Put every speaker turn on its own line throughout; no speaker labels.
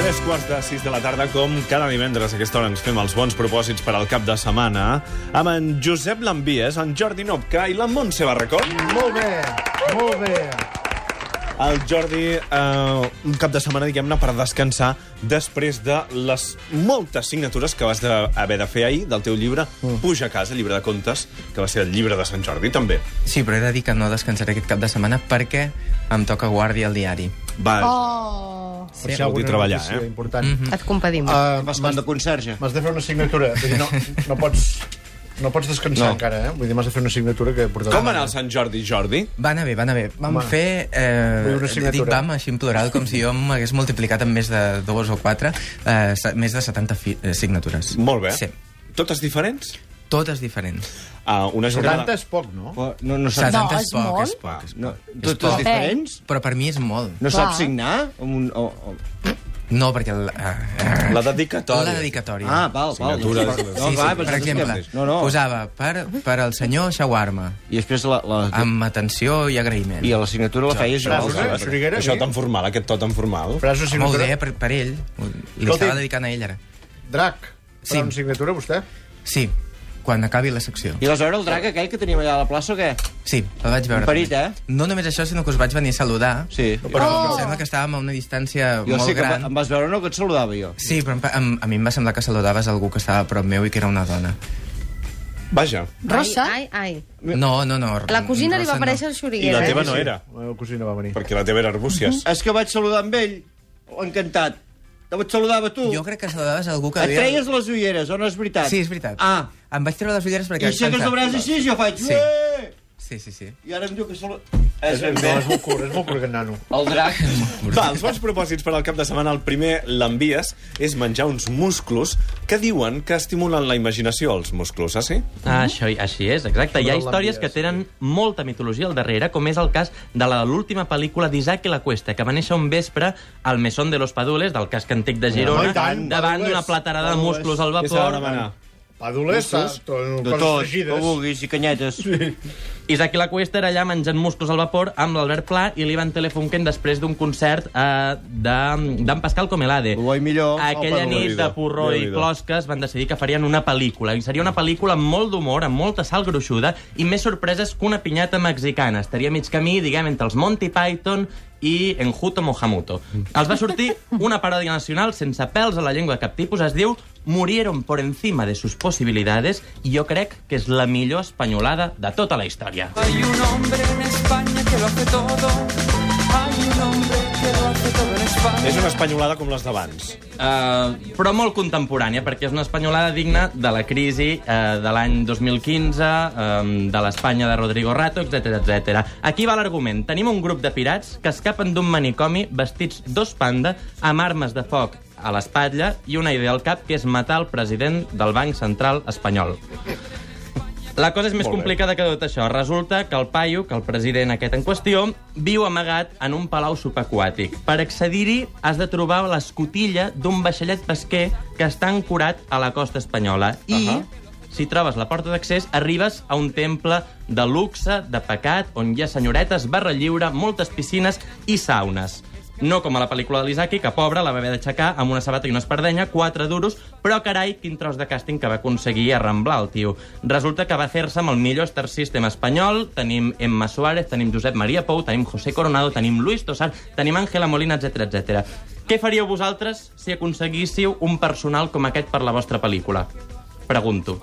les 6 de la tarda, com cada divendres a aquesta hora ens fem els bons propòsits per al cap de setmana, amb en Josep Lambies, en Jordi Nopca i la Montse Barracón.
Molt bé, molt bé.
El Jordi, eh, un cap de setmana, diguem-ne, per descansar després de les moltes signatures que vas de, haver de fer ahir del teu llibre
Mm.
Puja a casa, llibre de contes, que va ser el llibre de Sant Jordi, també.
Sí, però he de dir que no descansaré aquest cap de setmana perquè em toca guàrdia al diari.
Vas, oh.
Oh,
Sí,
això vol dir treballar, eh?
Important. Mm
et compedim. Uh,
-hmm. uh,
Vas com de conserge.
m'has de fer una signatura. Vull dir, no, no pots... No pots descansar no. encara, eh? Vull dir, m'has de fer una signatura que portarà...
Com va anar el Sant Jordi, Jordi?
Va anar bé, va anar bé. Vam
Home.
Home. fer... Eh,
Vull una signatura.
dic vam així en plural, com si jo m'hagués multiplicat amb més de dos o quatre, eh, se- més de 70 fi, eh, signatures.
Molt bé.
Sí,
Totes diferents?
totes diferents.
Uh, una jornada...
70 és poc, no?
Però No, no, saps,
Setanta
és molt.
és poc, és poc.
no,
És
totes
poc. Eh,
diferents?
Però per mi és molt.
No
Clar.
saps signar? Amb un, o, o...
No, perquè... La, eh,
La
eh,
dedicatòria.
la dedicatòria.
Ah, val, val.
Signatura.
No,
Sí,
sí,
no,
sí,
va,
per
pensava que
exemple,
sí. No, no.
posava per, per al senyor Shawarma,
I després la, la,
amb atenció i agraïment.
i a la signatura la feies jo.
Frases, eh? Soriguera,
Això
sí.
tan formal, aquest to tan formal.
Faràs una
Molt
signatura?
bé, per, per ell. Li
Escolti.
estava dedicant a ell, ara.
Drac, farà
Sí.
una signatura, vostè?
Sí, quan acabi la secció.
I aleshores el drac aquell que teníem allà a la plaça o què?
Sí, el vaig veure.
Parit,
també.
eh?
No només això, sinó que us vaig venir a saludar.
Sí.
Però
Oh!
em sembla que estàvem a una distància
Jo
molt
sé que em va-
gran.
em vas veure no que et saludava jo.
Sí, però em, pa- em, a mi em va semblar que saludaves algú que estava a prop meu i que era una dona.
Vaja.
Rosa? Ai, ai, ai.
No, no, no.
La cosina li va
Rosa,
aparèixer
No.
el
I
xuriguer.
la
eh?
teva no
Sí,
era,
La meva cosina va venir.
perquè la teva era Arbúcies.
És que vaig saludar amb ell, encantat. Et saludava tu.
Jo crec que saludaves algú que...
Et
havia-
treies les ulleres, o no és veritat?
Sí, és veritat.
Ah,
Em vaig treure les ulleres perquè...
i
vaig
sé que
pensar-
sobràs així, jo faig...
Sí.
"Ué!"
Sí, sí, sí.
I ara em diu que salu... És ben
No,
bé.
és molt curt, és molt curt, aquest nano.
El drac.
Va, els bons propòsits per al cap de setmana, el primer, l'envies, és menjar uns musclos que diuen que estimulen la imaginació, els musclos, ah, sí?
Ah, això, així és, exacte. Hi ha històries que tenen molta mitologia al darrere, com és el cas de la de l'última pel·lícula d'Isaac i la Cuesta, que va néixer un vespre al Mesón de los Padules, del casc antic de
Home,
Girona,
i tant,
davant
Padules,
d'una platerada de
Padules.
musclos al
Què s'ha de
vapor.
demanar?
Padules,
Gustos.
to-
De
coses
tot, que
fregides.
vulguis, i canyetes.
Isaac i la Cuesta era allà menjant musclos al vapor amb l'Albert Pla i l'Ivan Telefunken després d'un concert eh, de- d'en Pascal Comelade.
Guai millor.
Ah, Aquella
Home,
nit
Déu-n'hi-do,
de porró i
Déu-n'hi-do.
closques van decidir que farien una pel·lícula. I seria una pel·lícula amb molt d'humor, amb molta sal gruixuda i més sorpreses que una pinyata mexicana. Estaria a mig camí, diguem, entre els Monty Python i Enjuto Mohamuto. Els va sortir una paròdia nacional sense pèls a la llengua de cap tipus. Es diu Murieron por encima de sus posibilidades i jo crec que és la millor espanyolada de tota la història.
Hay un hombre en España que lo hace todo. Hay un hombre que lo hace todo en España.
És una espanyolada com les d'abans.
Uh, però molt contemporània, perquè és una espanyolada digna de la crisi uh, de l'any 2015, um, de l'Espanya de Rodrigo Rato, etc etc. Aquí va l'argument. Tenim un grup de pirats que escapen d'un manicomi vestits dos panda amb armes de foc a l'espatlla i una idea al cap que és matar el president del Banc Central espanyol. La cosa és més complicada que tot això. Resulta que el paio, que el president aquest en qüestió, viu amagat en un palau subaquàtic. Per accedir-hi has de trobar l'escotilla d'un vaixellet pesquer que està ancorat a la costa espanyola. I, uh -huh. si trobes la porta d'accés, arribes a un temple de luxe, de pecat, on hi ha senyoretes, barra lliure, moltes piscines i saunes. No com a la pel·lícula de l'Isaki, que pobra, la va haver d'aixecar amb una sabata i una espardenya, quatre duros, però carai, quin tros de càsting que va aconseguir arramblar el tio. Resulta que va fer-se amb el millor star system espanyol, tenim Emma Suárez, tenim Josep Maria Pou, tenim José Coronado, tenim Luis Tosar, tenim Ángela Molina, etc etc. Què faríeu vosaltres si aconseguíssiu un personal com aquest per la vostra pel·lícula? Pregunto.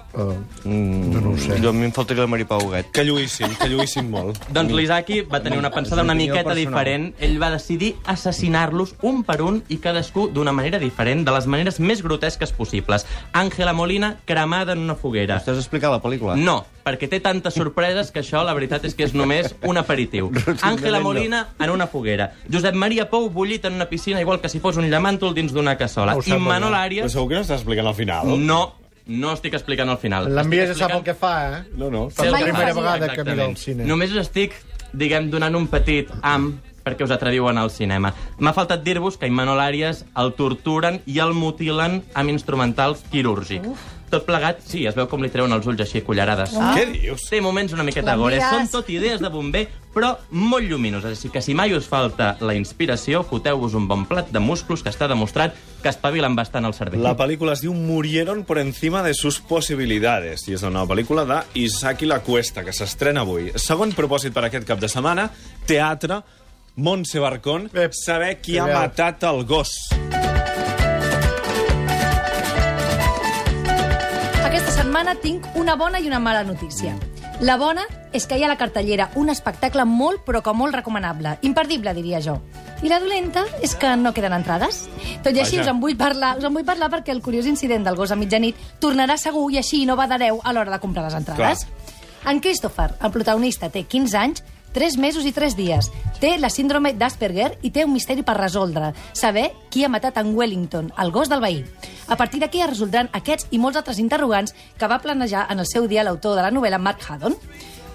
No, no ho sé.
Jo a mi em faltaria el Maripau Huguet.
Que lluïssin, que lluïssin molt.
Doncs l'Isaki va tenir una pensada una miqueta diferent. Ell va decidir assassinar-los un per un i cadascú d'una manera diferent, de les maneres més grotesques possibles. Àngela Molina cremada en una foguera.
Estàs explicant la pel·lícula?
No, perquè té tantes sorpreses que això, la veritat és que és només un aperitiu. Àngela Molina en una foguera. Josep Maria Pou bullit en una piscina, igual que si fos un llamàntol dins d'una cassola.
Ho sap
I
molt bé.
Manol
Però
Arias...
segur que no estàs explicant al final.
No, no estic explicant al final.
L'envies ja
Estic
sap el
explicant-
que fa, eh?
No, no.
Per
Sé el
la
que
primera
faci,
vegada que mira
exactament.
el cine.
Només us estic, diguem, donant un petit am perquè us atreviuen al cinema. M'ha faltat dir-vos que a Immanuel Arias el torturen i el mutilen amb instrumental quirúrgic. Tot plegat, sí, es veu com li treuen els ulls així a cullerades. Ah.
Què dius?
Té moments una miqueta
La
gore.
mires.
Són tot idees de bomber, però molt lluminoses. Així que si mai us falta la inspiració, coteu-vos un bon plat de musclos que està demostrat que espavilen bastant el cervell.
La pel·lícula es diu Murieron por encima de sus posibilidades i és una pel·lícula d'Isaki La Cuesta, que s'estrena avui. Segon propòsit per aquest cap de setmana, teatre, Montse Barcón,
Ep,
saber qui
que
ha
bé.
matat el gos.
Aquesta setmana tinc una bona i una mala notícia. La bona és que hi ha a la cartellera un espectacle molt, però que molt recomanable. Imperdible, diria jo. I la dolenta és que no queden entrades. Tot i així,
Vaja.
us en, vull parlar, us en vull parlar perquè el curiós incident del gos a mitjanit tornarà segur i així no va de 10 a l'hora de comprar les entrades. En Christopher, el protagonista, té 15 anys, 3 mesos i 3 dies. Té la síndrome d'Asperger i té un misteri per resoldre. Saber qui ha matat en Wellington, el gos del veí. A partir d'aquí es resoldran aquests i molts altres interrogants que va planejar en el seu dia l'autor de la novel·la Mark Haddon.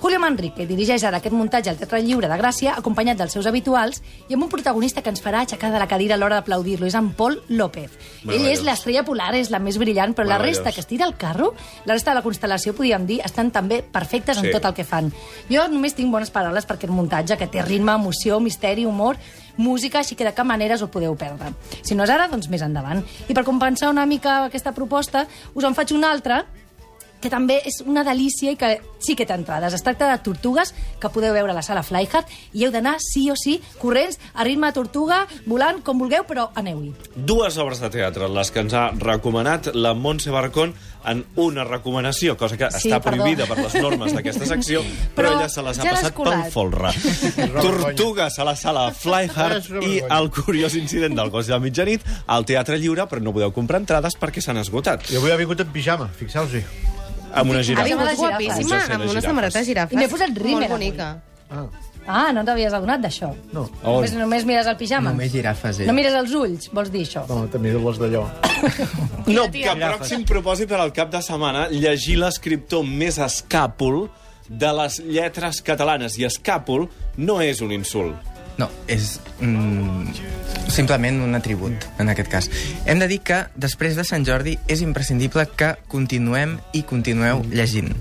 Julio Manrique dirigeix ara aquest muntatge al Teatre Lliure de Gràcia, acompanyat dels seus habituals, i amb un protagonista que ens farà aixecar de la cadira a l'hora d'aplaudir-lo, és en Paul López. Ell és l'estrella polar, és la més brillant, però la
Meravellós.
resta que estira el carro, la resta de la constel·lació, podríem dir, estan també perfectes
Sí.
en tot el que fan. Jo només tinc bones paraules per aquest muntatge, que té ritme, emoció, misteri, humor, música, així que de cap manera us ho podeu perdre. Si no és ara, doncs més endavant. I per compensar una mica aquesta proposta, us en faig una altra, que també és una delícia i que sí que té entrades. Es tracta de tortugues que podeu veure a la sala Flyhard i heu d'anar sí o sí, corrents, a ritme de tortuga, volant, com vulgueu, però aneu-hi.
Dues obres de teatre, les que ens ha recomanat la Montse Barcón en una recomanació, cosa que
Sí,
està
perdó.
prohibida per les normes d'aquesta secció, però,
Però
ella se les ha
ja l'has
passat pel
colat.
folre. Tortugues a la sala Fly
És una
Hard i
vergonya.
el curiós incident del gos de mitjanit al Teatre Lliure, però no podeu comprar entrades perquè s'han esgotat.
Jo avui ha vingut en pijama, fixeu-s'hi.
Amb una
Ha
Girafes.
girafa.
vingut
vingut guapíssima,
Sense
amb una
girafes.
samarreta de girafes.
I m'he posat rímel
Molt bonica.
Ah,
Ah, no t'havies adonat d'això?
no.
Només, només mires el pijama?
Només girafes, eh?
No mires els ulls, vols dir això?
No, també les d'allò.
No, que el pròxim propòsit per al cap de setmana llegir l'escriptor més escàpol de les lletres catalanes. I escàpol no és un insult.
No, és mm, simplement un atribut, en aquest cas. Hem de dir que, després de Sant Jordi, és imprescindible que continuem i continueu
Mm.
llegint.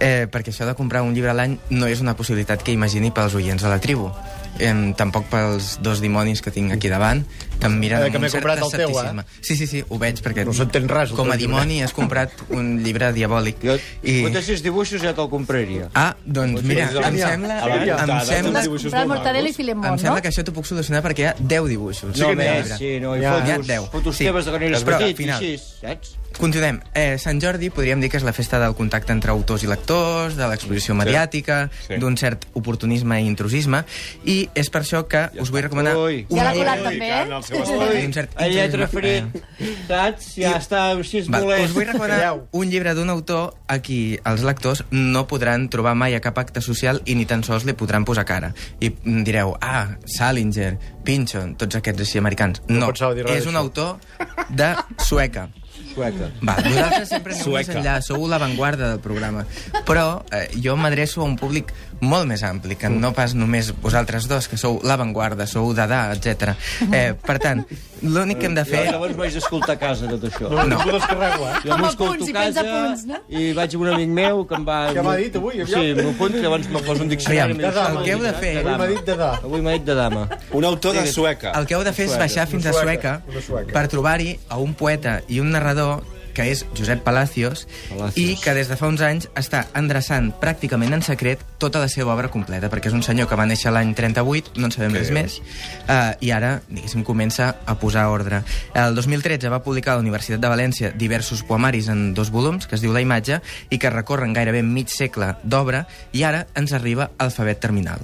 Eh, perquè això de comprar un llibre a l'any no és una possibilitat que imagini pels oients de la tribu. Eh, tampoc pels dos dimonis que tinc aquí davant, que em miren
Eh,
eh,
que m'he
amb un cert
comprat el teu, eh?
escepticisme. Sí, sí, sí, ho veig, perquè...
No s'entén res, el
Com a
teu llibre.
dimoni has comprat un llibre diabòlic.
Jo, I... Potessis dibuixos ja te'l compraria.
Ah, doncs mira, em sembla...
Abans,
Em
dades,
sembla
uns dibuixos
Comprar
molt
Mortadelo i
macos.
Filemón,
em sembla
no?
que això t'ho puc solucionar perquè hi ha 10 dibuixos.
No,
al
més,
llibre.
sí, no, i
Ja.
ja,
N'hi
ha
fotos,
deu.
fotos
Sí.
teves de quan eres
Però,
petit, i
final.
així, saps?
Continuem. Eh, Sant Jordi podríem dir que és la festa del contacte entre autors i lectors, de l'exposició mediàtica,
Sí.
d'un cert oportunisme i intrusisme, i és per això que us vull recomanar...
Ui.
Ja l'ha
obra-
colat
Ui,
també,
que en el seu espai.
Ui,
un cert
a lletra
intrusisme.
fred, saps? Ja
I-
està, si és
Va,
molest.
us vull recomanar un llibre d'un autor a qui els lectors no podran trobar mai a cap acte social i ni tan sols li podran posar cara. I mm, direu, ah, Salinger, Pynchon, tots aquests així americans. No,
pensava dir res
és un
d'això.
autor de Sueca.
Sueca.
Va, vosaltres sempre aneu més
Sueca.
enllà, sou l'avantguarda del programa. Però eh, jo m'adreço a un públic molt més ampli, que no pas només vosaltres dos, que sou l'avantguarda, sou Dadà, etc. Eh, per tant, l'únic que hem de
Jo
fer...
llavors vaig escoltar a casa tot això.
No, no. descarrego, eh?
Jo
Amb
m'ho
apunts
escolto
i
a
prens
casa
apunts, no?
i vaig amb un amic meu que em va...
Què m'ha dit avui, aviam?
Sí, m'ho apunto, llavors me'n poso
Aviam,
un diccionari.
el
i em diu,
que heu de fer...
"Dama".
Avui m'ha dit de da.
Avui m'ha dit de dama.
Un autor de Sueca.
El que heu de fer és baixar fins a
Una
Sueca,
sueca, una sueca.
per trobar-hi a un poeta i un narrador que és Josep Palacios,
Palacios.
i que des de fa uns anys està endreçant pràcticament en secret tota la seva obra completa, perquè és un senyor que va néixer l'any 38, no en sabem res més, eh, i ara, diguéssim, comença a posar ordre. El 2013 va publicar a la Universitat de València diversos poemaris en dos volums, que es diu La imatge, i que recorren gairebé mig segle d'obra, i ara ens arriba Alfabet Terminal.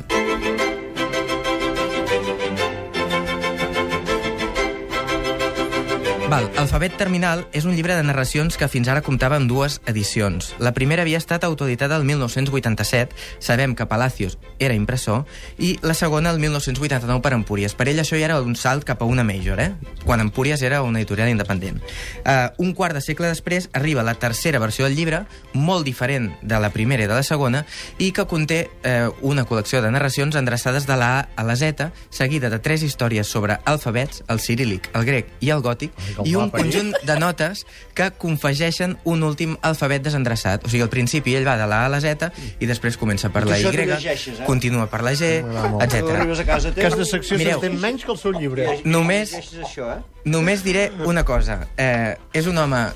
Val, Alfabet Terminal és un llibre de narracions que fins ara comptava amb dues edicions. La primera havia estat autoeditada el 1987, sabem que Palacios era impressor, i la segona el 1989 per Empúries. Per ell això ja era un salt cap a una major, eh? quan Empúries era una editorial independent. Uh, un quart de segle després arriba la tercera versió del llibre, molt diferent de la primera i de la segona, i que conté eh, una col·lecció de narracions endreçades de la A a la Z, seguida de tres històries sobre alfabets, el cirílic, el grec i el gòtic,
que
i un
guapa, eh?
conjunt de notes que confegeixen un últim alfabet desendreçat. O sigui, al principi ell va de la A a la Z i després comença per
I
la
això
Y,
t'ho llegeixes, eh?
continua per la G,
Tu
etc.
arribes a casa
Que
teva...
és de secció
Mireu.
s'entén menys que el seu llibre.
Només,
Llegeixes això, eh?
només diré una cosa. Eh, és un home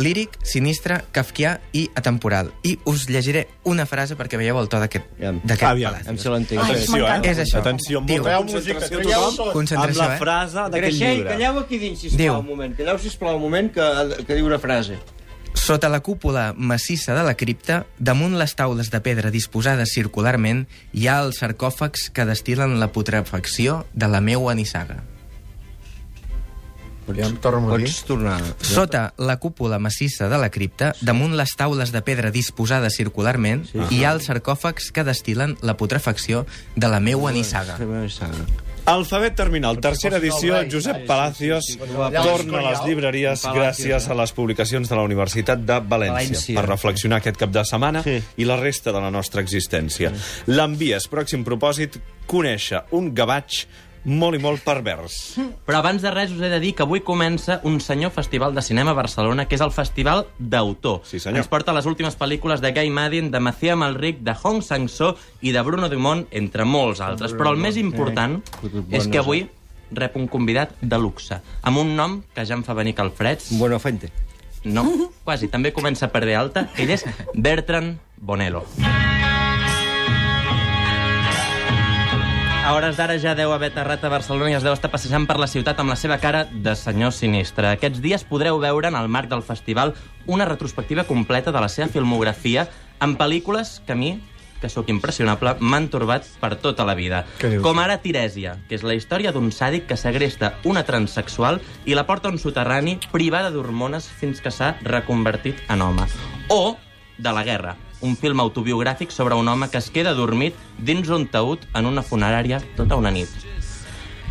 líric, sinistre, kafkià i atemporal. I us llegiré una frase perquè veieu el to d'aquest
Aviam.
d'aquest
Aviam.
Palacios.
Em se l'entenc.
Ai,
Atenció, eh?
m'encanta.
És això.
Atenció,
Diu.
molta
Treu música,
concentració
treu
tothom
so.
amb
Concentració,
la
eh?
frase d'aquest
Greixell,
llibre.
calleu aquí dins, sisplau,
Diu.
un moment. Calleu, sisplau, un moment, que, que diu una frase.
Sota la cúpula massissa de la cripta, damunt les taules de pedra disposades circularment, hi ha els sarcòfags que destilen la putrefacció de la meua nissaga.
Ja em torno a dir.
Pots tornar.
Sota la cúpula massissa de la cripta, damunt les taules de pedra disposades circularment, hi ha els sarcòfags que destilen la putrefacció de la meua nissaga.
Alfabet Terminal, tercera edició. Josep Palacios torna a les llibreries gràcies a les publicacions de la Universitat de eh? València
València.
per reflexionar aquest cap de setmana
Sí.
i la resta de la nostra existència. L'envies, pròxim propòsit, conèixer un gavatx molt i molt pervers.
Però abans de res us he de dir que avui comença un senyor festival de cinema a Barcelona, que és el Festival d'Autor.
Sí, senyor.
Ens porta les últimes pel·lícules de Guy Madin, de Macía Malric, de Hong Sang-so i de Bruno Dumont, entre molts altres. Però el més important és que avui rep un convidat de luxe, amb un nom que ja em fa venir calfreds.
Bueno, fente.
No, quasi. També comença per de alta. Ell és Bertran Bonello. A hores d'ara ja deu haver aterrat a Barcelona i es deu estar passejant per la ciutat amb la seva cara de senyor sinistre. Aquests dies podreu veure en el marc del festival una retrospectiva completa de la seva filmografia amb pel·lícules que a mi, que sóc impressionable, m'han torbat per tota la vida.
Què dius?
Com ara Tirèsia, que és la història d'un sàdic que segresta una transexual i la porta a un soterrani privada d'hormones fins que s'ha reconvertit en home. O de la guerra, un film autobiogràfic sobre un home que es queda dormit dins un taüt en una funerària tota una nit.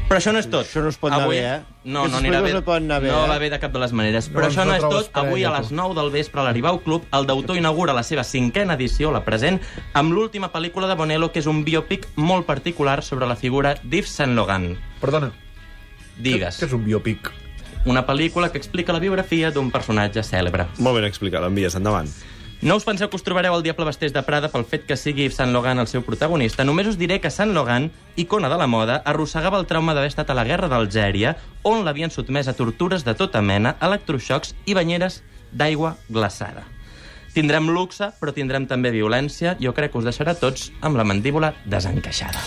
Però això no és tot.
Això no es pot anar
Avui...
bé, eh?
No, no
Aquestes
anirà bé.
pel·lícules no poden anar bé,
no
eh? Doncs
va bé de cap de les maneres.
No
Però
ens
això no
la
és
trobes
tot. Avui a
parella,
les
tu.
9 del vespre a l'Arribau Club, el d'autor inaugura la seva cinquena edició, la present, amb l'última pel·lícula de Bonello, que és un biòpic molt particular sobre la figura d'Yves Saint Logan.
Perdona,
Digues,
que és un biopic.
una pel·lícula que explica la biografia d'un personatge cèlebre.
Molt ben explicat, l'envies, endavant.
No us penseu que us trobareu al Diable Basters de Prada pel fet que sigui Yves Saint Logan el seu protagonista. Només us diré que Saint Logan, icona de la moda, arrossegava el trauma d'haver estat a la Guerra d'Algèria, on l'havien sotmès a tortures de tota mena, electroxocs i banyeres d'aigua glaçada. Tindrem luxe, però tindrem també violència. Jo crec que us deixarà tots amb la mandíbula desencaixada.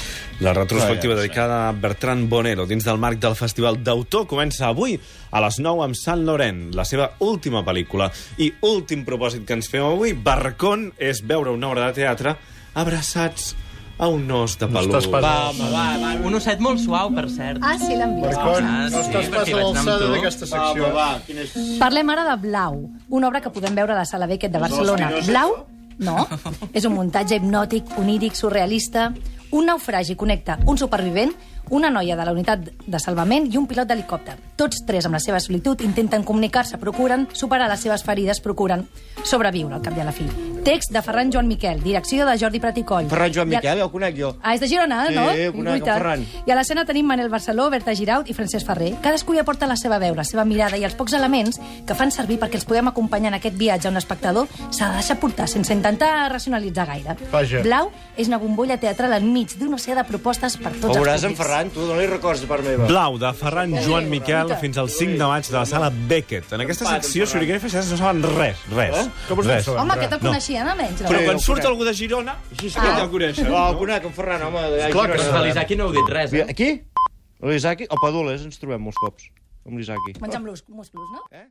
La retrospectiva dedicada a Bertran Bonero dins del marc del Festival d'Autor comença avui a les 9 amb Sant Laurent, la seva última pel·lícula. I últim propòsit que ens fem avui, Barracón, és veure una obra de teatre abraçats a un os de pelú.
estàs pas-
Va, home, va, va. Un osset molt suau, per cert.
Ah, sí, l'han vist.
Marcon, no
Ah, sí,
estàs
perquè
pas
vaig
a
anar amb
l'alçada
tu.
d'aquesta secció.
quin és...
Parlem ara de Blau, una obra que podem veure a la Sala Beckett de Barcelona.
Hòstia, no és
Blau,
això?
no, és un muntatge hipnòtic, oníric, surrealista. Un naufragi connecta un supervivent, una noia de la unitat de salvament i un pilot d'helicòpter. Tots tres, amb la seva solitud, intenten comunicar-se, procuren superar les seves ferides, procuren sobreviure al cap i a la fi. Text de Ferran Joan Miquel, direcció de Jordi Prat i Coll.
Ferran Joan
I a-
Miquel, ja el conec jo.
Ah, és de Girona,
Sí,
no?
conec el
Veritat.
Ferran.
I a l'escena tenim Manel Barceló, Berta Giraut i Francesc Ferrer. Cadascú hi aporta la seva veu, la seva mirada i els pocs elements que fan servir perquè els puguem acompanyar en aquest viatge on l'espectador s'ha de deixar portar sense intentar racionalitzar gaire.
Vaja.
Blau és una bombolla teatral enmig d'un oceà de propostes per tots
Veuràs en
els públics.
Ferran, tu, no li records de part meva.
Blau, de Ferran Joan Miquel, fins al 5 de maig de la sala Beckett. En aquesta secció, Xuriguer i Feixades no saben res, res,
Eh? Com us
res.
penseu?
Home, que te'l
No.
coneixien, almenys, no?
Però quan
ho
surt
conec.
algú de Girona, sí que
Ah.
ja el coneixen.
No, Oh, el
No?
conec, en Ferran, home.
Clar que
Ai,
no.
Però l'Isaki no heu dit res, eh?
Aquí? L'Isaki? A Padules ens trobem molts cops, amb l'Isaki.
Menjant blusc, musclos, no?